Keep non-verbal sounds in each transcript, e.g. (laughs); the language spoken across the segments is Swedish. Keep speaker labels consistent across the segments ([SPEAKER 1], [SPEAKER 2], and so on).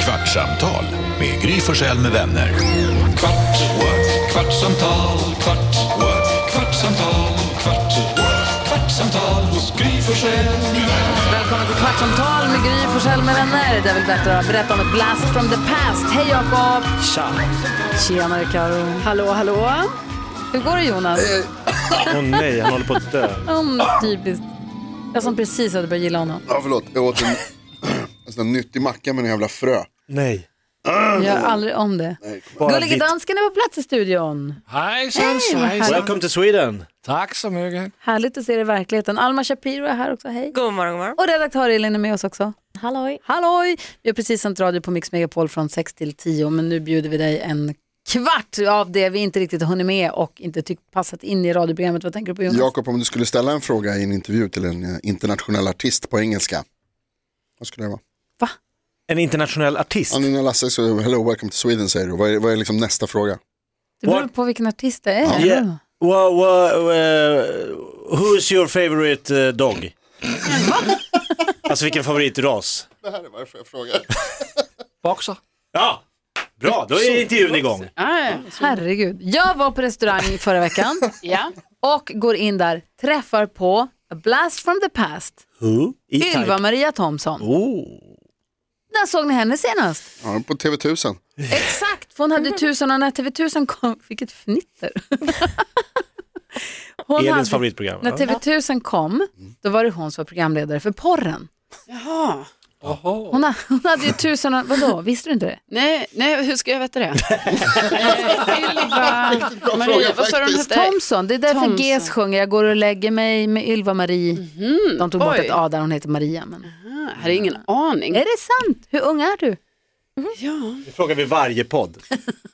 [SPEAKER 1] Kvartsamtal med Gry Forssell med vänner. Kvart, what? kvartsamtal, kvart, what? kvartsamtal, kvart, what? kvartsamtal hos Gry Forssell med vänner.
[SPEAKER 2] Välkomna till Kvartsamtal med Gry Forssell med vänner där vi berättar, berättar om ett blast from the past. Hej Jakob! Tja! Tjenare Karo.
[SPEAKER 3] Hallå, hallå.
[SPEAKER 2] Hur går det Jonas?
[SPEAKER 4] Åh nej, han håller på att dö.
[SPEAKER 2] Mm, typiskt. Jag som precis hade börjat gilla honom.
[SPEAKER 5] Ja, förlåt. Jag åt en, en (clears throat) sån där nyttig macka med en jävla frö.
[SPEAKER 4] Nej.
[SPEAKER 2] Gör aldrig om det.
[SPEAKER 4] Bara
[SPEAKER 2] Gullige
[SPEAKER 4] vitt.
[SPEAKER 2] dansken är på plats i studion.
[SPEAKER 6] Hejsan
[SPEAKER 2] vad
[SPEAKER 6] svejsan.
[SPEAKER 2] härligt.
[SPEAKER 4] Welcome to Sweden.
[SPEAKER 6] Tack så mycket.
[SPEAKER 2] Härligt att se dig i verkligheten. Alma Shapiro är här också, hej.
[SPEAKER 7] God morgon, god morgon.
[SPEAKER 2] Och redaktör Elin är med oss också.
[SPEAKER 3] Halloj.
[SPEAKER 2] Halloj! Vi har precis sänt radio på Mix Megapol från 6 till 10 men nu bjuder vi dig en kvart av det vi inte riktigt har hunnit med och inte tyckt passat in i radioprogrammet. Vad tänker du på Jonas?
[SPEAKER 5] Jakob, om du skulle ställa en fråga i en intervju till en eh, internationell artist på engelska. Vad skulle det vara?
[SPEAKER 4] En internationell artist.
[SPEAKER 5] Anina Lasse, så hello, welcome to Sweden säger du. Vad är, vad är liksom nästa fråga?
[SPEAKER 2] Det beror
[SPEAKER 4] What?
[SPEAKER 2] på vilken artist det är.
[SPEAKER 4] Yeah. Wow, wow, eh, who is your favorite eh, dog?
[SPEAKER 2] (laughs)
[SPEAKER 4] alltså vilken favoritras?
[SPEAKER 5] Det här är varför jag frågar.
[SPEAKER 6] Boxer.
[SPEAKER 4] Ja, bra, då är intervjun igång.
[SPEAKER 2] Herregud. Jag var på restaurang förra veckan
[SPEAKER 3] (laughs) Ja.
[SPEAKER 2] och går in där, träffar på A Blast from the Past,
[SPEAKER 4] Who? E-Type.
[SPEAKER 2] Ylva-Maria Thomsson.
[SPEAKER 4] Oh.
[SPEAKER 2] När såg ni henne senast?
[SPEAKER 5] Ja, på TV1000.
[SPEAKER 2] Exakt, för hon hade tusen och när TV1000 kom, vilket fnitter. Hon
[SPEAKER 4] Elins
[SPEAKER 2] hade-
[SPEAKER 4] favoritprogram.
[SPEAKER 2] När typ- TV1000 kom, då var det hon som var programledare för porren.
[SPEAKER 3] Jaha.
[SPEAKER 2] Hon, ha, hon hade ju tusen, och- vadå, visste du inte det?
[SPEAKER 3] Nej, nej, hur ska jag veta det?
[SPEAKER 4] (laughs)
[SPEAKER 3] Eh, Ylva, Maria, vad sa du hon
[SPEAKER 5] faktiskt.
[SPEAKER 3] hette?
[SPEAKER 2] Thomson, det är därför
[SPEAKER 3] Thomsson.
[SPEAKER 2] GES sjunger Jag går och lägger mig med Ylva-Marie. De tog bort
[SPEAKER 3] oj.
[SPEAKER 2] ett A där, hon heter Maria. Men...
[SPEAKER 3] Ah, här är
[SPEAKER 2] Eh,
[SPEAKER 3] ingen aning.
[SPEAKER 2] Är det sant? Hur ung är du?
[SPEAKER 3] Ja,
[SPEAKER 4] Det frågar vi varje podd.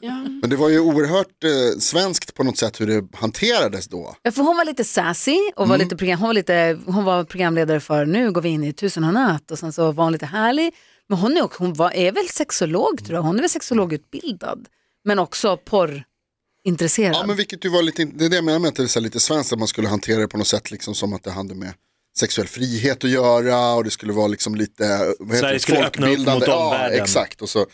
[SPEAKER 3] ja.
[SPEAKER 5] Men det var ju oerhört eh, svenskt på något sätt hur det hanterades då.
[SPEAKER 2] Ja, för hon var lite sassy och
[SPEAKER 4] Mm.
[SPEAKER 2] var lite program, hon, var lite, hon var programledare för Nu går vi in i tusen och en natt och sen så var hon lite härlig. Men hon är, också, hon var, är väl sexolog tror jag, hon är väl sexologutbildad. Men också porrintresserad.
[SPEAKER 5] Ja, men vilket ju var lite, det är det jag menar med att det är så här lite svenskt, att man skulle hantera det på något sätt liksom som att det hade med sexuell frihet att göra och det skulle vara liksom lite vad heter
[SPEAKER 4] Sverige
[SPEAKER 5] det,
[SPEAKER 4] skulle öppna upp
[SPEAKER 5] folkbildande.
[SPEAKER 4] mot
[SPEAKER 5] ja,
[SPEAKER 4] omvärlden.
[SPEAKER 5] exakt. Och så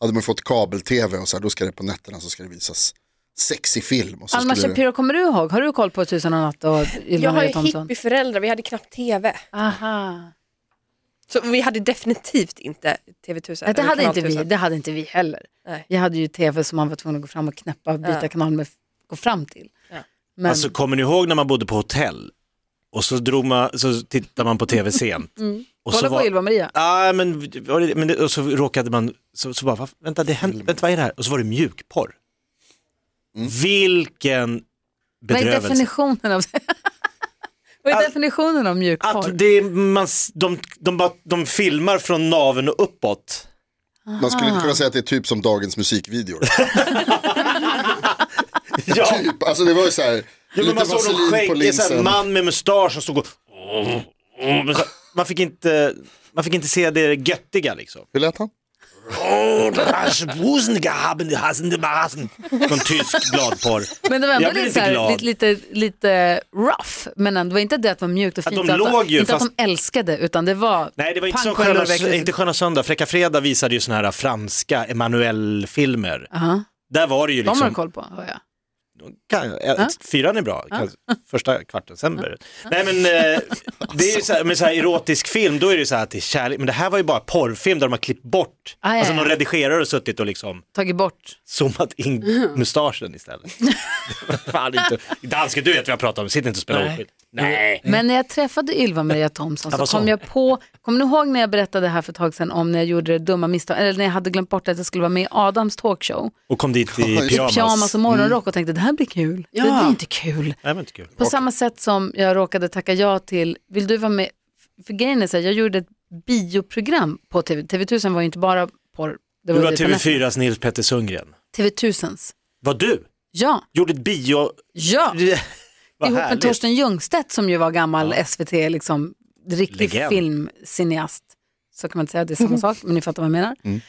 [SPEAKER 5] hade man fått kabel-tv och så här, då ska det på nätterna så ska det visas sexig film. Och så
[SPEAKER 2] Alma
[SPEAKER 5] skulle det...
[SPEAKER 2] Shapiro, kommer du ihåg? Har du koll på Tusen och en natt och
[SPEAKER 8] Jag har
[SPEAKER 2] Ylva-Maria
[SPEAKER 8] ju
[SPEAKER 2] Thomsson?
[SPEAKER 8] hippieföräldrar, vi hade knappt tv.
[SPEAKER 2] Aha.
[SPEAKER 8] Så vi hade definitivt inte TV1000.
[SPEAKER 2] Nej, det
[SPEAKER 8] eller
[SPEAKER 2] hade
[SPEAKER 8] kanal
[SPEAKER 2] inte vi,
[SPEAKER 8] 1000.
[SPEAKER 2] det hade inte vi heller.
[SPEAKER 8] Nej.
[SPEAKER 2] Jag hade ju tv som man var tvungen att gå fram och knäppa, byta
[SPEAKER 8] Ja.
[SPEAKER 2] kanal med, gå fram till. Men,
[SPEAKER 4] Alltså kommer ni ihåg när man bodde på hotell? Och så, drog man, så tittade man på tv sent. Och så
[SPEAKER 2] Mm. kolla på
[SPEAKER 4] var,
[SPEAKER 2] Ylva-Maria.
[SPEAKER 4] Ja, men, var det, men det, och så råkade man, så, så bara, "Va- vänta, det händer, vänta, vad är det här? Och så var det mjukporr.
[SPEAKER 5] Mm.
[SPEAKER 4] Vilken
[SPEAKER 2] Vad är
[SPEAKER 4] bedrövelse.
[SPEAKER 2] definitionen av (laughs) Vad är
[SPEAKER 4] Att-
[SPEAKER 2] definitionen av mjukporr?
[SPEAKER 4] Att det, är- man, s- de, de, bara- de filmar från naveln och uppåt.
[SPEAKER 5] Man skulle
[SPEAKER 2] Ah.
[SPEAKER 5] inte kunna säga att det är typ som dagens musikvideor.
[SPEAKER 4] (laughs) Ja,
[SPEAKER 5] typ, alltså det var ju så här,
[SPEAKER 4] ja, men
[SPEAKER 5] lite
[SPEAKER 4] man såg dem
[SPEAKER 5] vaselin på
[SPEAKER 4] skägg, så här,
[SPEAKER 5] linsen.
[SPEAKER 4] man med mustasch som stod och... Men så, man, fick inte, man fick inte se det göttiga
[SPEAKER 5] (laughs)
[SPEAKER 4] liksom.
[SPEAKER 5] Hur lät han?
[SPEAKER 2] (laughs)
[SPEAKER 4] Från tysk gladporr.
[SPEAKER 2] Men det var ändå
[SPEAKER 4] Jag
[SPEAKER 2] lite,
[SPEAKER 4] blir lite
[SPEAKER 2] såhär,
[SPEAKER 4] glad.
[SPEAKER 2] lite, lite, lite rough, men ändå, det var inte det att det var mjukt och
[SPEAKER 4] Att
[SPEAKER 2] fint.
[SPEAKER 4] de
[SPEAKER 2] och
[SPEAKER 4] låg ju,
[SPEAKER 2] inte att
[SPEAKER 4] fast-
[SPEAKER 2] de älskade, utan det var
[SPEAKER 4] Nej, det var inte som
[SPEAKER 2] pangskölden
[SPEAKER 4] Sköna,
[SPEAKER 2] och väckelse.
[SPEAKER 4] inte sköna Söndag. Fräcka Fredag visade ju såna här franska Emanuel-filmer.
[SPEAKER 2] Aha.
[SPEAKER 4] Där var det ju
[SPEAKER 2] De har du
[SPEAKER 4] liksom,
[SPEAKER 2] koll på, hör jag.
[SPEAKER 4] kan, eh, fyran är bra, kan, första kvarten, sen börjar det. Nej men, eh, det är ju så här, med så här erotisk film, då är det ju så här att det är kärlek, men det här var ju bara porrfilm där de har klippt bort,
[SPEAKER 2] Ah, ja,
[SPEAKER 4] alltså
[SPEAKER 2] ja.
[SPEAKER 4] någon redigerare har suttit och liksom
[SPEAKER 2] Tagit bort.
[SPEAKER 4] zoomat
[SPEAKER 2] (laughs)
[SPEAKER 4] in mustaschen istället. (laughs) Fan inte, dansken du vet vad jag pratar om, sitt inte och spela oskyldig. Nej.
[SPEAKER 2] Men när jag träffade Ylva-Maria Thomsson
[SPEAKER 4] Ja,
[SPEAKER 2] så
[SPEAKER 4] vad sa
[SPEAKER 2] kom
[SPEAKER 4] hon?
[SPEAKER 2] jag på, kommer ni ihåg när jag berättade här för ett tag sedan om när jag gjorde det dumma misstag, eller när jag hade glömt bort att jag skulle vara med i Adams talkshow
[SPEAKER 4] Och kom
[SPEAKER 2] (laughs)
[SPEAKER 4] dit i
[SPEAKER 5] I
[SPEAKER 4] pyjamas. Mm.
[SPEAKER 2] pyjamas och morgonrock och tänkte det här blir kul.
[SPEAKER 3] Ja.
[SPEAKER 2] Det blir inte kul.
[SPEAKER 4] Nej men inte kul.
[SPEAKER 2] På samma sätt som jag råkade tacka ja till, vill du vara med? För grejen är så här, jag gjorde ett bioprogram på TV, TV1000 var ju inte bara porr. Det
[SPEAKER 4] Du var
[SPEAKER 2] ju det på nätet.
[SPEAKER 4] TV4s Nils Petter Sundgren.
[SPEAKER 2] TV1000s.
[SPEAKER 4] Var du?
[SPEAKER 2] Ja,
[SPEAKER 4] Gjorde ett bio...
[SPEAKER 2] ja.
[SPEAKER 4] Vad
[SPEAKER 2] (laughs) Ihop med
[SPEAKER 4] härligt.
[SPEAKER 2] Torsten Ljungstedt som ju var gammal SVT, liksom riktig
[SPEAKER 4] Legend.
[SPEAKER 2] filmcineast. Så kan man inte säga, det är
[SPEAKER 4] (laughs)
[SPEAKER 2] samma sak, men ni fattar vad jag menar.
[SPEAKER 4] Mm.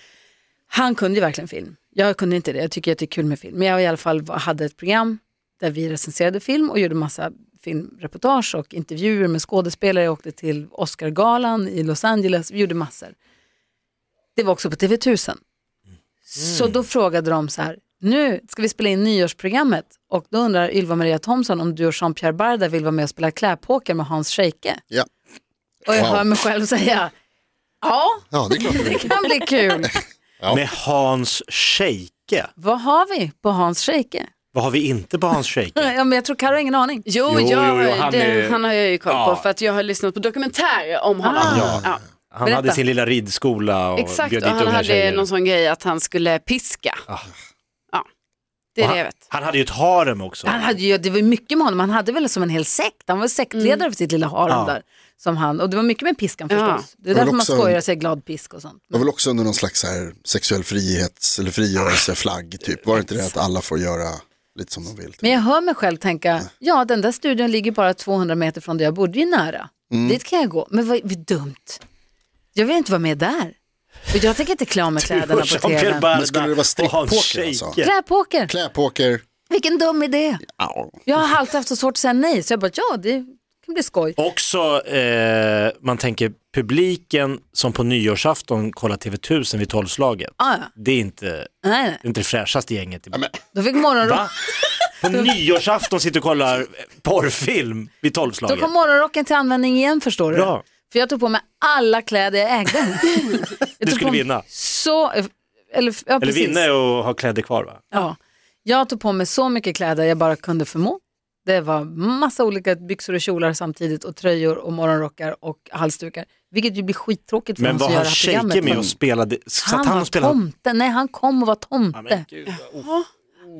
[SPEAKER 2] Han kunde ju verkligen film. Jag kunde inte det, jag tycker att det är kul med film. Men jag i alla fall var- hade ett program där vi recenserade film och gjorde massa filmreportage och intervjuer med skådespelare. Jag åkte till Oscargalan i Los Angeles, vi gjorde massor. Det var också på TV1000. Så
[SPEAKER 5] Mm.
[SPEAKER 2] då frågade de så här, nu ska vi spela in nyårsprogrammet och då undrar Ylva Maria Thomsson om du och Jean-Pierre Barda vill vara med och spela kläpoker med Hans Scheike.
[SPEAKER 5] Ja.
[SPEAKER 2] Och jag
[SPEAKER 5] Wow.
[SPEAKER 2] hör mig själv säga, ja,
[SPEAKER 5] ja, det är (laughs) klart.
[SPEAKER 2] det kan bli
[SPEAKER 5] (laughs)
[SPEAKER 2] kul.
[SPEAKER 5] Ja.
[SPEAKER 4] Med Hans Scheike.
[SPEAKER 2] Vad har vi på Hans Scheike?
[SPEAKER 4] Vad har vi inte på Hans Scheike?
[SPEAKER 2] Ja, men jag tror Carro har ingen aning.
[SPEAKER 3] Jo,
[SPEAKER 4] Jo,
[SPEAKER 3] jag,
[SPEAKER 4] jo, jo, han
[SPEAKER 3] han, det,
[SPEAKER 4] är-
[SPEAKER 3] han har jag ju koll
[SPEAKER 4] Ja. Ah.
[SPEAKER 3] på för att jag har lyssnat på dokumentärer om honom.
[SPEAKER 4] Ja.
[SPEAKER 3] Ja.
[SPEAKER 4] Han
[SPEAKER 2] Berätta.
[SPEAKER 4] hade sin lilla ridskola och
[SPEAKER 3] Exakt,
[SPEAKER 4] bjöd
[SPEAKER 3] och
[SPEAKER 4] dit
[SPEAKER 3] han
[SPEAKER 4] unga
[SPEAKER 3] hade
[SPEAKER 4] tjejer. Ah.
[SPEAKER 3] någon sån grej att han skulle piska. Ja, det är
[SPEAKER 4] Och
[SPEAKER 3] det jag vet.
[SPEAKER 4] Han hade ju ett harem också.
[SPEAKER 2] Han hade ju, det var ju mycket med honom, han hade väl som en hel sekt, han var sektledare
[SPEAKER 5] Mm.
[SPEAKER 2] för sitt lilla harem
[SPEAKER 4] Ja.
[SPEAKER 2] där. Som han, och det var mycket med piskan förstås.
[SPEAKER 3] Ja.
[SPEAKER 2] Det är
[SPEAKER 5] Men
[SPEAKER 2] därför man
[SPEAKER 5] också-
[SPEAKER 2] skojar och säger glad pisk och sånt.
[SPEAKER 5] Det var väl också under någon slags så här sexuell frihets eller frigörelseflagg typ. Var det inte det att alla får göra lite som de vill? Typ?
[SPEAKER 2] Men jag hör mig själv tänka, ja den där studion ligger bara 200 meter från där jag bodde, det är ju nära.
[SPEAKER 4] Mm.
[SPEAKER 2] Dit kan jag gå, men vad, vad dumt. Jag vill inte vara med där. Och jag tänker inte klä av
[SPEAKER 4] (laughs)
[SPEAKER 2] mig kläderna på
[SPEAKER 4] Jean-Pierre
[SPEAKER 2] tvn.
[SPEAKER 4] Barda
[SPEAKER 5] Men skulle det vara
[SPEAKER 4] och Hans
[SPEAKER 5] strippåker, alltså?
[SPEAKER 4] Scheike.
[SPEAKER 2] Kläpoker,
[SPEAKER 5] Kläpoker,
[SPEAKER 2] vilken dum idé.
[SPEAKER 5] au.
[SPEAKER 2] Jag har alltid haft så svårt att säga nej, så jag bara, ja det kan bli skoj.
[SPEAKER 4] Också, eh, man tänker publiken som på nyårsafton kollar TV1000 vid tolvslaget.
[SPEAKER 2] Ah, ja.
[SPEAKER 4] Det är inte
[SPEAKER 2] nej, nej.
[SPEAKER 4] det, är inte det fräschaste gänget. i-
[SPEAKER 2] Då fick morgonrock
[SPEAKER 4] Va? På nyårsafton sitter och kollar porrfilm vid
[SPEAKER 2] Då
[SPEAKER 4] tolvslaget.
[SPEAKER 2] kom morgonrocken till användning igen förstår du.
[SPEAKER 4] Bra.
[SPEAKER 2] För jag tog på mig alla kläder jag
[SPEAKER 4] (laughs)
[SPEAKER 2] ägde. jag
[SPEAKER 4] Du
[SPEAKER 2] tog
[SPEAKER 4] skulle
[SPEAKER 2] på mig
[SPEAKER 4] vinna.
[SPEAKER 2] Så, eller, ja,
[SPEAKER 4] Eller
[SPEAKER 2] precis.
[SPEAKER 4] vinna och ha kläder kvar va?
[SPEAKER 2] Ja. Jag tog på mig så mycket kläder jag bara kunde förmå. Det var massa olika byxor och kjolar samtidigt och tröjor och morgonrockar och halsdukar. Vilket ju blir skittråkigt för
[SPEAKER 4] Men
[SPEAKER 2] dem
[SPEAKER 4] var
[SPEAKER 2] som gör
[SPEAKER 4] han
[SPEAKER 2] det här programmet.
[SPEAKER 4] Scheike med och spelade? Satt
[SPEAKER 2] Han,
[SPEAKER 4] han,
[SPEAKER 2] var
[SPEAKER 4] och spelade?
[SPEAKER 2] tomte, nej han kom och var
[SPEAKER 4] Ja,
[SPEAKER 2] tomte.
[SPEAKER 4] men gud.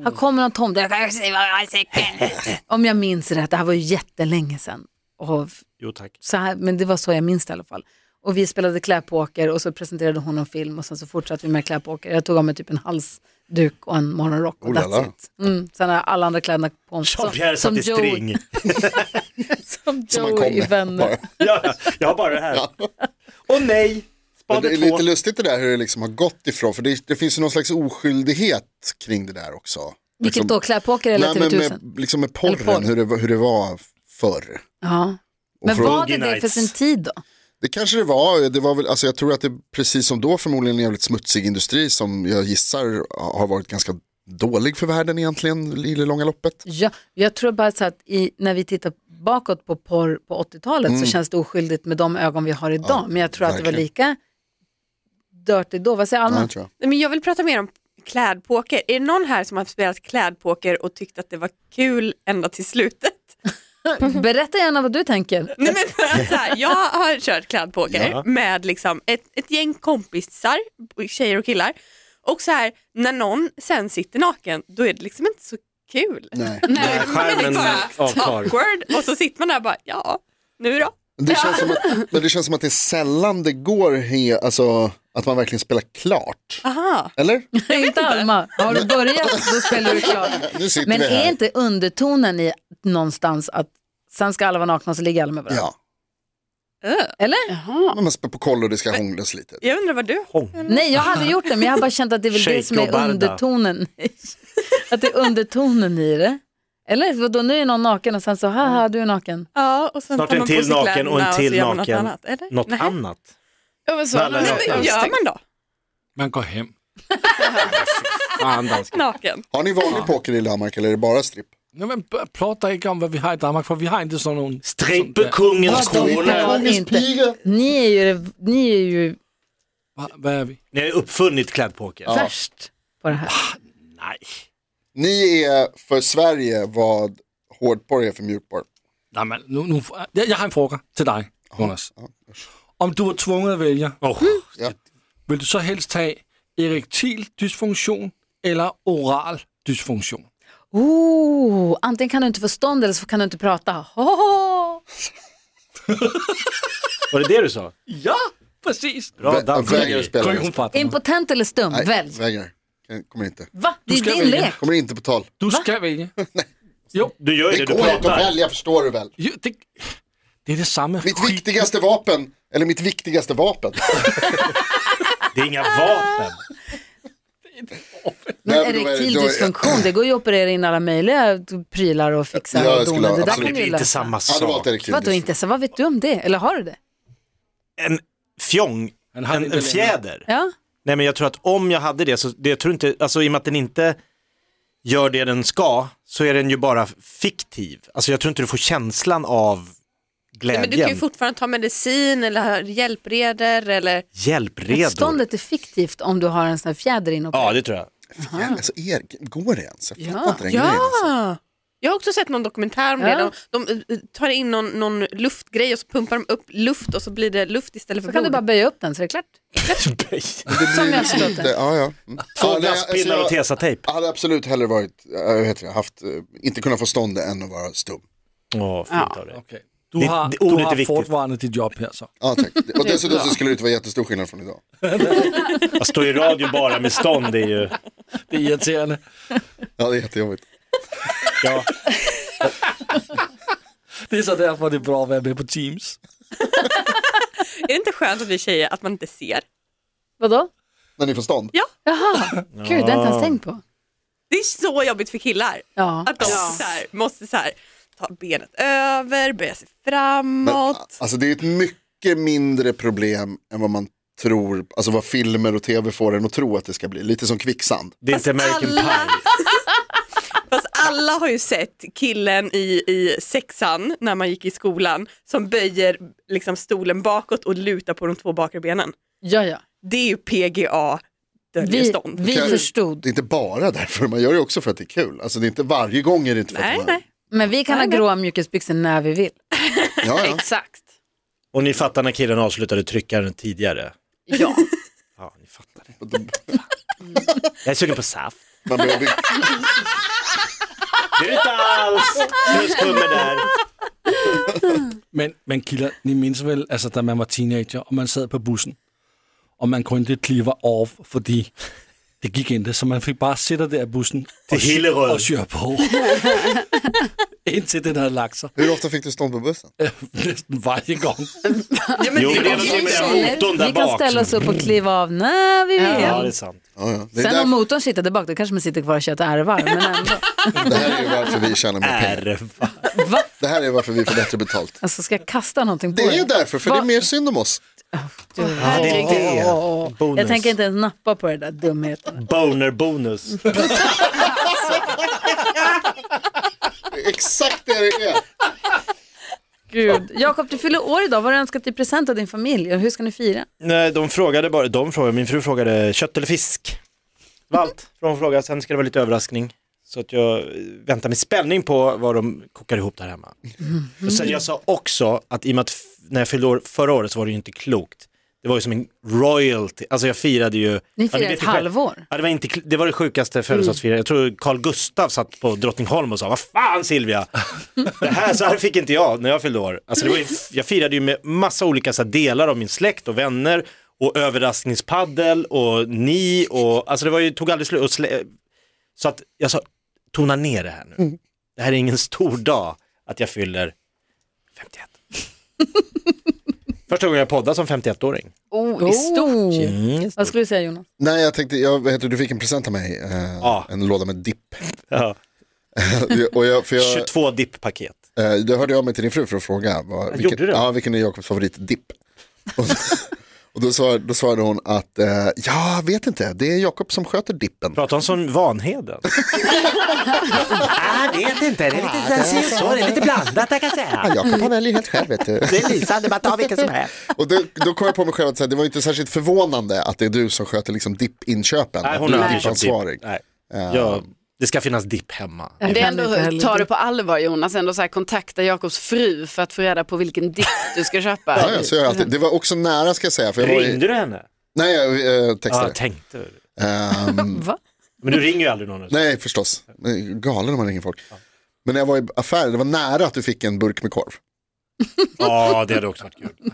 [SPEAKER 2] Här kommer någon tomte. Jag kan se vad jag har i
[SPEAKER 4] (laughs)
[SPEAKER 2] säcken. Om jag minns rätt, det här var ju jättelänge sedan. Och
[SPEAKER 4] Jo tack.
[SPEAKER 2] så här, men det var så jag minns det i alla fall. Och vi spelade kläpoker och så presenterade hon en film och sen så fortsatte vi med kläpoker. Jag tog av mig typ en halsduk och en morgonrock och
[SPEAKER 5] Oh la la.
[SPEAKER 2] that's it. Mm. Sen har jag alla andra kläderna på mig.
[SPEAKER 4] Jean-Pierre satt
[SPEAKER 2] (laughs)
[SPEAKER 4] i string.
[SPEAKER 2] Som
[SPEAKER 5] Som man kom
[SPEAKER 2] Joey i
[SPEAKER 5] med.
[SPEAKER 2] Vänner.
[SPEAKER 4] Ja, jag har bara det här. Och nej,
[SPEAKER 5] Men
[SPEAKER 4] spade
[SPEAKER 5] det är
[SPEAKER 4] två.
[SPEAKER 5] lite lustigt det där hur det liksom har gått ifrån. För det, det finns ju någon slags oskyldighet kring det där också.
[SPEAKER 2] Vilket då, kläpoker eller
[SPEAKER 5] liksom- Nej, men
[SPEAKER 2] TV1000?
[SPEAKER 5] med, liksom med
[SPEAKER 2] Eller
[SPEAKER 5] porren,
[SPEAKER 2] porr.
[SPEAKER 5] hur, det, var- hur det var förr.
[SPEAKER 2] Ja.
[SPEAKER 5] Och
[SPEAKER 2] Men
[SPEAKER 5] från-
[SPEAKER 2] var det det
[SPEAKER 4] Nights.
[SPEAKER 2] för sin tid då?
[SPEAKER 5] Det kanske det var, det var väl, alltså jag tror att det precis som då förmodligen en jävligt smutsig industri som jag gissar har varit ganska dålig för världen egentligen i det långa loppet.
[SPEAKER 2] Ja, jag tror bara så att i, när vi tittar bakåt på porr på 80-talet så känns det oskyldigt med de ögon vi har idag.
[SPEAKER 5] Mm. Ja,
[SPEAKER 2] men jag tror att det var
[SPEAKER 5] verkligen.
[SPEAKER 2] lika dirty då. Vad säger Alma?
[SPEAKER 5] Ja, tror jag.
[SPEAKER 8] Nej, Men jag vill prata mer om klädpoker. Är det någon här som har spelat klädpoker och tyckt att det var kul ända till slutet? (laughs)
[SPEAKER 2] Berätta gärna vad du tänker.
[SPEAKER 8] Nej, men för att så här, jag har kört klädpoker
[SPEAKER 4] Ja.
[SPEAKER 8] med liksom ett, ett gäng kompisar, tjejer och killar. Och så här, när någon sen sitter naken, då är det liksom inte så kul.
[SPEAKER 5] Nej.
[SPEAKER 2] (laughs)
[SPEAKER 4] Nej, skärmen avtar.
[SPEAKER 8] Awkward. Och så sitter man där och bara, ja, nu då?
[SPEAKER 5] Det, känns som att, men det känns som att det är sällan det går he, alltså, att man verkligen spelar klart.
[SPEAKER 8] Aha.
[SPEAKER 5] Eller?
[SPEAKER 2] inte Alma. Har du börjat då spelar du klart.
[SPEAKER 5] (laughs) Nu sitter
[SPEAKER 2] Men
[SPEAKER 5] vi här.
[SPEAKER 2] är inte undertonen i någonstans att sen ska alla vara nakna och så ligger alla med varandra?
[SPEAKER 5] Ja,
[SPEAKER 2] Eller?
[SPEAKER 5] men man spelar på koll och det ska hånglas lite.
[SPEAKER 8] Jag undrar vad du
[SPEAKER 4] Hång.
[SPEAKER 2] Nej, jag har aldrig gjort det, men jag har bara känt att det är väl det
[SPEAKER 4] Shake
[SPEAKER 2] som
[SPEAKER 4] och
[SPEAKER 2] är
[SPEAKER 4] Barda.
[SPEAKER 2] undertonen. (laughs) att det är undertonen i det. Eller vadå, nu är någon naken och sen så, haha,
[SPEAKER 5] Mm.
[SPEAKER 2] du är naken.
[SPEAKER 8] Ja, och sen
[SPEAKER 4] Snart
[SPEAKER 8] tar
[SPEAKER 4] en
[SPEAKER 8] man på
[SPEAKER 4] till
[SPEAKER 8] sig
[SPEAKER 4] naken
[SPEAKER 8] kläderna
[SPEAKER 4] och en
[SPEAKER 8] så
[SPEAKER 4] till
[SPEAKER 8] gör man
[SPEAKER 4] naken.
[SPEAKER 8] Något annat? Eller?
[SPEAKER 4] Något
[SPEAKER 8] Nej.
[SPEAKER 4] annat.
[SPEAKER 3] Ja, men så,
[SPEAKER 4] Nej, nej,
[SPEAKER 8] Nej,
[SPEAKER 4] nej.
[SPEAKER 8] men gör man då?
[SPEAKER 6] Man går hem. Fan, dansk.
[SPEAKER 8] Naken?
[SPEAKER 5] Har ni vanlig poker i Danmark eller är det bara stripp?
[SPEAKER 6] Nej, men b- prata inte om vad vi har i Danmark, för vi har inte sån någon...
[SPEAKER 4] Strippekungens
[SPEAKER 2] Vad de
[SPEAKER 4] korna.
[SPEAKER 2] har inte. Ni är ju, det- ni är ju
[SPEAKER 6] Va, vad är vi?
[SPEAKER 4] Ni har ju uppfunnit klädpoker.
[SPEAKER 2] värst på det här.
[SPEAKER 4] Nej.
[SPEAKER 5] Ni är för Sverige vad hårdporr är för mjukporr.
[SPEAKER 6] Nej, men nu, nu, jag, jag har en fråga till dig, Jonas. Om du var tvungen att välja,
[SPEAKER 4] Åh,
[SPEAKER 6] vill du så helst ta erektil dysfunktion eller oral dysfunktion?
[SPEAKER 2] Oh, antingen kan du inte få stånd eller så kan du inte prata. Hohoho.
[SPEAKER 4] Var det det du sa?
[SPEAKER 6] Ja, precis.
[SPEAKER 4] Bra
[SPEAKER 5] Vä-
[SPEAKER 4] dans.
[SPEAKER 5] vägrar spela.
[SPEAKER 6] Hon fattar.
[SPEAKER 2] Impotent eller stum,
[SPEAKER 5] Nej,
[SPEAKER 2] välj.
[SPEAKER 5] vägrar. Kan- Kommer inte.
[SPEAKER 2] Va? Det är
[SPEAKER 6] ska
[SPEAKER 2] din
[SPEAKER 6] välja.
[SPEAKER 2] lek.
[SPEAKER 5] Kommer inte på tal.
[SPEAKER 6] Du ska välja.
[SPEAKER 4] Du gör ju det,
[SPEAKER 5] Det
[SPEAKER 4] du
[SPEAKER 5] går inte att
[SPEAKER 4] pratar.
[SPEAKER 5] välja förstår du väl.
[SPEAKER 6] Jo, det, det är detsamma.
[SPEAKER 5] Mitt viktigaste vapen, eller mitt viktigaste vapen.
[SPEAKER 4] Det är inga vapen.
[SPEAKER 2] Men
[SPEAKER 5] Nej, men då är det-
[SPEAKER 2] erektil
[SPEAKER 5] då är-
[SPEAKER 2] dysfunktion, det går ju att operera in alla möjliga prylar och fixa
[SPEAKER 5] Ja, jag
[SPEAKER 2] och
[SPEAKER 5] skulle
[SPEAKER 2] dona. Det där kan
[SPEAKER 5] absolut-
[SPEAKER 4] Alltså, Det
[SPEAKER 2] du ju
[SPEAKER 4] är inte
[SPEAKER 2] lösa.
[SPEAKER 4] samma
[SPEAKER 5] Ja, det var
[SPEAKER 4] sak.
[SPEAKER 5] inte riktigt.
[SPEAKER 2] Vadå inte så? Vad vet du om det? Eller har du det?
[SPEAKER 4] En fjong,
[SPEAKER 6] Han hade
[SPEAKER 4] en,
[SPEAKER 6] inte
[SPEAKER 4] en
[SPEAKER 6] längre.
[SPEAKER 4] fjäder,
[SPEAKER 2] Ja.
[SPEAKER 4] Nej men jag tror att om jag hade det, så det, jag tror inte, alltså i och med att den inte gör det den ska, så är den ju bara fiktiv. Alltså jag tror inte du får känslan av
[SPEAKER 8] Nej,
[SPEAKER 4] glädjen.
[SPEAKER 8] men du kan ju fortfarande ta medicin eller hjälpreder eller
[SPEAKER 4] Hjälpredor.
[SPEAKER 2] Motståndet är fiktivt om du har en sån här fjäder inåt.
[SPEAKER 4] Ja det tror (laughs) jag.
[SPEAKER 5] Fjärn, alltså, er, går det ens? Jag fattar
[SPEAKER 2] Ja.
[SPEAKER 5] inte den grejen. Alltså.
[SPEAKER 8] Ja! Jag har också sett någon dokumentär om
[SPEAKER 2] Ja.
[SPEAKER 8] det. De, de eh, tar in någon, någon luftgrej och så pumpar de upp luft och så blir det luft istället för
[SPEAKER 2] Så kan du
[SPEAKER 8] blod.
[SPEAKER 2] bara böja upp den så är det klart. Som jag förstått
[SPEAKER 5] Det, ja, ja.
[SPEAKER 4] Två
[SPEAKER 5] Mm. Ja, nej, alltså,
[SPEAKER 4] glasspinnar
[SPEAKER 5] jag-
[SPEAKER 4] och tesatejp.
[SPEAKER 5] Jag hade absolut hellre varit, äh, vad heter det, haft, eh, inte kunnat få stånd det än att vara stum.
[SPEAKER 4] Åh, fint av dig.
[SPEAKER 6] Okay. Du
[SPEAKER 4] Det-
[SPEAKER 6] har,
[SPEAKER 4] det-
[SPEAKER 6] du
[SPEAKER 4] ordet är
[SPEAKER 6] har
[SPEAKER 4] viktigt.
[SPEAKER 6] fortfarande ditt jobb här så.
[SPEAKER 2] (laughs)
[SPEAKER 5] Ja, tack. Och dessutom så skulle det inte vara jättestor skillnad från idag.
[SPEAKER 4] Att stå i radio bara med stånd är ju,
[SPEAKER 6] Det är irriterande.
[SPEAKER 5] Ja, det är jättejobbigt.
[SPEAKER 4] ja.
[SPEAKER 6] Det är så därför det är bra att vara med på Teams.
[SPEAKER 8] Är det inte skönt att vi tjejer att man inte ser?
[SPEAKER 2] Vadå?
[SPEAKER 5] När ni får stånd?
[SPEAKER 8] Ja.
[SPEAKER 2] Jaha, gud det har jag inte ens tänkt på.
[SPEAKER 8] Det är så jobbigt för killar.
[SPEAKER 2] Ja.
[SPEAKER 8] Att de så här, måste så här, ta benet över, böja sig framåt.
[SPEAKER 5] Alltså det är ett mycket mindre problem än vad man tror, alltså vad filmer och tv får en att tro att det ska bli. Lite som kvicksand.
[SPEAKER 4] Det är inte American
[SPEAKER 8] alla-
[SPEAKER 4] Pie.
[SPEAKER 8] Fast alla har ju sett killen i, i sexan när man gick i skolan som böjer liksom, stolen bakåt och lutar på de två bakre benen.
[SPEAKER 2] Ja, ja.
[SPEAKER 8] Det är ju PGA döljer
[SPEAKER 2] Vi,
[SPEAKER 8] stånd.
[SPEAKER 2] vi
[SPEAKER 5] Okej.
[SPEAKER 2] förstod.
[SPEAKER 5] Det är inte bara därför, man gör det också för att det är kul. Alltså det är inte varje gång är det inte för
[SPEAKER 8] Nej,
[SPEAKER 5] att man...
[SPEAKER 8] nej.
[SPEAKER 2] Men vi kan ha gråa mjukisbyxor när vi vill.
[SPEAKER 5] Ja,
[SPEAKER 2] (laughs)
[SPEAKER 5] ja.
[SPEAKER 2] Exakt.
[SPEAKER 4] Och ni fattar när killen avslutade tryckaren tidigare.
[SPEAKER 2] Ja.
[SPEAKER 4] Ja, ni fattar. det. Jag är sugen på saft.
[SPEAKER 5] Man börjar bli...
[SPEAKER 4] Det är det inte alls! Snuskummer där.
[SPEAKER 6] Men, men killar, ni minns väl alltså, när man var teenager och man satt på bussen och man kunde inte kliva av för det gick inte så man fick bara sitta där i bussen
[SPEAKER 4] Till
[SPEAKER 6] och, sy-
[SPEAKER 4] Hillerød.
[SPEAKER 6] och köra på. Indtil den hade lagt sig
[SPEAKER 5] Hur ofta fick du stånd på bussen?
[SPEAKER 6] nästan varje gång.
[SPEAKER 4] Jo, men det är
[SPEAKER 2] Vi
[SPEAKER 4] någonting med den här
[SPEAKER 2] tjejer,
[SPEAKER 4] motorn där
[SPEAKER 2] vi kan
[SPEAKER 4] bak.
[SPEAKER 2] ställa oss upp och kliva av när vi vill.
[SPEAKER 4] Ja, det är sant.
[SPEAKER 5] Ja, ja. Det, är
[SPEAKER 2] Sen om
[SPEAKER 5] där,
[SPEAKER 2] motorn sitter där bak, då kanske man sitter kvar och kör ett ärvar. Men ändå.
[SPEAKER 5] det här är ju varför vi tjänar mer
[SPEAKER 4] Äh.
[SPEAKER 5] pengar.
[SPEAKER 4] Ärva.
[SPEAKER 2] Va?
[SPEAKER 5] Det här är varför vi får bättre betalt.
[SPEAKER 2] Alltså ska jag kasta någonting på
[SPEAKER 5] Det är
[SPEAKER 2] dig?
[SPEAKER 5] därför, för det är
[SPEAKER 2] Va?
[SPEAKER 5] mer synd om oss.
[SPEAKER 2] Du,
[SPEAKER 4] det.
[SPEAKER 2] åh, åh, åh.
[SPEAKER 4] Bonus.
[SPEAKER 2] Jag tänker inte ens nappa på det där dumheten.
[SPEAKER 4] Boner-bonus.
[SPEAKER 5] Det är Exakt det det är.
[SPEAKER 2] (laughs) Gud. Jakob, du fyller år idag. Vad har du önskat i present av din familj? Och hur ska ni fira?
[SPEAKER 4] Nej, de frågade bara, de frågade, min fru frågade kött eller fisk. Det var allt från fråga, sen ska det vara lite överraskning. Så att jag eh, väntar med spänning på vad de kokar ihop där hemma. Och sen jag sa också att i och med att f- när jag fyllde år förra året så var det ju inte klokt. Det var ju som en royalty, alltså jag firade ju...
[SPEAKER 2] Ni
[SPEAKER 4] ja,
[SPEAKER 2] firar
[SPEAKER 4] vet
[SPEAKER 2] ett
[SPEAKER 4] ju själv.
[SPEAKER 2] halvår.
[SPEAKER 4] Ja, det, var inte, kl- det var det sjukaste födelsedagsfirandet. Jag tror Carl Gustav satt på Drottningholm och sa, vad fan Silvia, det här, så här fick inte jag när jag fyllde år. Alltså, det var ju, jag firade ju med massa olika så här, delar av min släkt och vänner och överraskningspaddel och ni och, alltså det var ju, tog aldrig slut. Och slä, så att jag sa, tona ner det här nu. Det här är ingen stor dag att jag fyller 51. Första gången jag poddade som 51-åring.
[SPEAKER 2] Oh, det är stort ju. Vad skulle du säga Jonas?
[SPEAKER 5] Nej, jag tänkte, jag, vad heter, det, du fick en present av mig, eh,
[SPEAKER 4] Ja.
[SPEAKER 5] en låda med dipp.
[SPEAKER 4] Ja.
[SPEAKER 5] och jag, för jag,
[SPEAKER 4] 22 dipp-paket.
[SPEAKER 5] eh, då hörde jag mig till din fru för att fråga, vad,
[SPEAKER 4] gjorde
[SPEAKER 5] vilken,
[SPEAKER 4] du?
[SPEAKER 5] ja, vilken är Jakobs favoritdipp? Och, och då, svar, då svarade hon att, eh, ja, jag vet inte, det är Jakob som sköter dippen.
[SPEAKER 4] Pratar hon som Vanheden? Jag vet inte, det är lite så och så, det är lite blandat jag kan säga.
[SPEAKER 5] Jakob han väljer helt själv vet du.
[SPEAKER 4] är lysande, man tar vilken som helst.
[SPEAKER 5] Och då, då kom jag på mig själv att så här, det var inte särskilt förvånande att det är du som sköter liksom dippinköpen.
[SPEAKER 4] Nej,
[SPEAKER 5] att
[SPEAKER 4] hon
[SPEAKER 5] du
[SPEAKER 4] har
[SPEAKER 5] är
[SPEAKER 4] aldrig köpt
[SPEAKER 5] dippansvarig.
[SPEAKER 4] dipp. Nej. Ja, det ska finnas dipp hemma.
[SPEAKER 2] Jag
[SPEAKER 3] Det är
[SPEAKER 2] kan inte
[SPEAKER 3] ändå,
[SPEAKER 2] heller.
[SPEAKER 3] tar du på allvar Jonas, ändå så här, kontakta Jakobs fru för att få reda på vilken dipp du ska köpa.
[SPEAKER 5] Ja, ja, så gör jag alltid. Det var också nära ska jag säga. För jag var i,
[SPEAKER 4] Ringde du henne?
[SPEAKER 5] nej, jag eh,
[SPEAKER 4] Ja,
[SPEAKER 5] textade.
[SPEAKER 4] jag tänkte. väl.
[SPEAKER 5] Ehm,
[SPEAKER 2] Va?
[SPEAKER 4] Men du ringer ju aldrig någon.
[SPEAKER 5] Nej, förstås. Men Galen om man ringer folk. Men när jag var i affären, det var nära att du fick en burk med korv.
[SPEAKER 4] Ja, det hade också varit kul.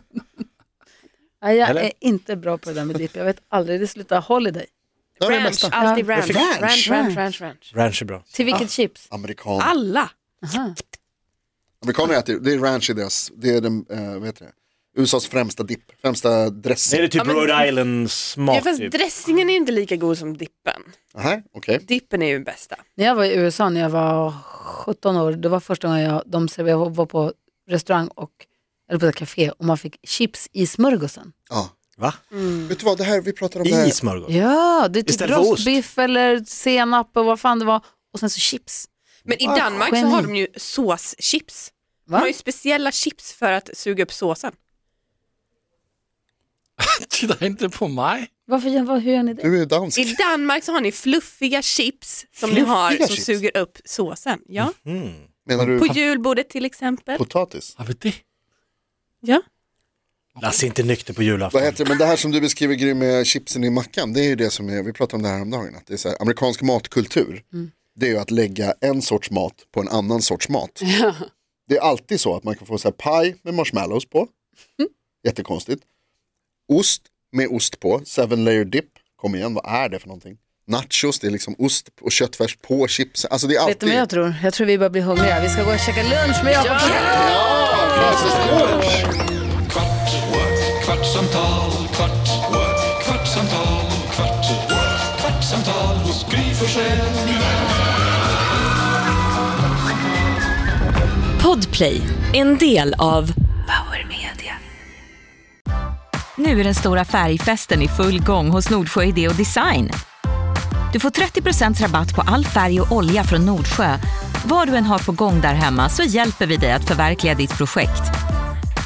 [SPEAKER 2] Nej, jag
[SPEAKER 4] Eller?
[SPEAKER 2] är inte bra på det där med dipp. Jag vet aldrig, det slutar holiday.
[SPEAKER 5] Det var det
[SPEAKER 3] Ranch,
[SPEAKER 5] bästa.
[SPEAKER 3] alltid ranch.
[SPEAKER 4] fick-
[SPEAKER 3] Ranch, ranch, ranch, ranch,
[SPEAKER 4] Ranch är bra.
[SPEAKER 2] Till vilket chips?
[SPEAKER 5] Amerikan.
[SPEAKER 8] Alla!
[SPEAKER 2] Aha.
[SPEAKER 5] Amerikaner äter, det är ranch i deras, det är den, eh, vad heter det? USAs främsta dipp, främsta
[SPEAKER 4] Är
[SPEAKER 5] dressing.
[SPEAKER 4] det typ
[SPEAKER 8] men-
[SPEAKER 4] Rhode Island-smak?
[SPEAKER 8] Ja, fast
[SPEAKER 4] typ?
[SPEAKER 8] dressingen är ju inte lika god som dippen.
[SPEAKER 5] Aha, okej.
[SPEAKER 8] Dippen är ju den bästa.
[SPEAKER 2] När jag var i USA när jag var 17 år, det var första gången jag, de serverade, jag var på restaurang och, eller på ett café och man fick chips i smörgåsen.
[SPEAKER 5] Ja.
[SPEAKER 4] Va?
[SPEAKER 5] Vet du vad, det här, vi pratade om det
[SPEAKER 4] I
[SPEAKER 5] här.
[SPEAKER 4] smörgås?
[SPEAKER 2] Ja, det är typ
[SPEAKER 4] Istället för ost.
[SPEAKER 2] rostbiff eller senap och vad fan det var. Och sen så chips.
[SPEAKER 8] Men i Danmark så
[SPEAKER 2] geni.
[SPEAKER 8] har de ju såschips. De
[SPEAKER 2] Va?
[SPEAKER 8] har ju speciella chips för att suga upp såsen.
[SPEAKER 6] Titta inte på mig.
[SPEAKER 2] Varför, gör- vad- hur gör ni det?
[SPEAKER 5] Du är dansk.
[SPEAKER 8] I Danmark så har ni fluffiga chips som ni har som
[SPEAKER 5] chips?
[SPEAKER 8] suger upp såsen. Ja.
[SPEAKER 5] Menar du
[SPEAKER 8] På julbordet till exempel.
[SPEAKER 5] potatis?
[SPEAKER 6] Har vi det?
[SPEAKER 8] Ja.
[SPEAKER 4] Lasse är inte nykter på julafton.
[SPEAKER 5] Vad heter det? Men det här som du beskriver Gry med chipsen i mackan, det är ju det som är, vi pratade om det här om dagen, att det är så här, amerikansk matkultur,
[SPEAKER 2] Mm.
[SPEAKER 5] det är ju att lägga en sorts mat på en annan
[SPEAKER 2] (laughs)
[SPEAKER 5] sorts mat. Det är alltid så att man kan få så här paj med marshmallows på,
[SPEAKER 2] Mm.
[SPEAKER 5] jättekonstigt. Ost med ost på, seven layer dip, kom igen, vad är det för någonting? Nachos, det är liksom ost och köttfärs på chips. Alltså det är
[SPEAKER 2] Vet du
[SPEAKER 5] alltid...
[SPEAKER 2] vad jag tror? Jag tror vi börjar bli hungriga. Vi ska gå och käka lunch med Jakob.
[SPEAKER 1] Kvart, what? kvartsamtal, kvart, what? kvartsamtal, kvart, what? kvartsamtal hos Gry Forssell med vänner.
[SPEAKER 7] Podplay, en del av Power Media. Nu är den stora färgfesten i full gång hos Nordsjö Idé och Design. Du får 30 rabatt på all färg och olja från Nordsjö. Vad du än har på gång där hemma så hjälper vi dig att förverkliga ditt projekt.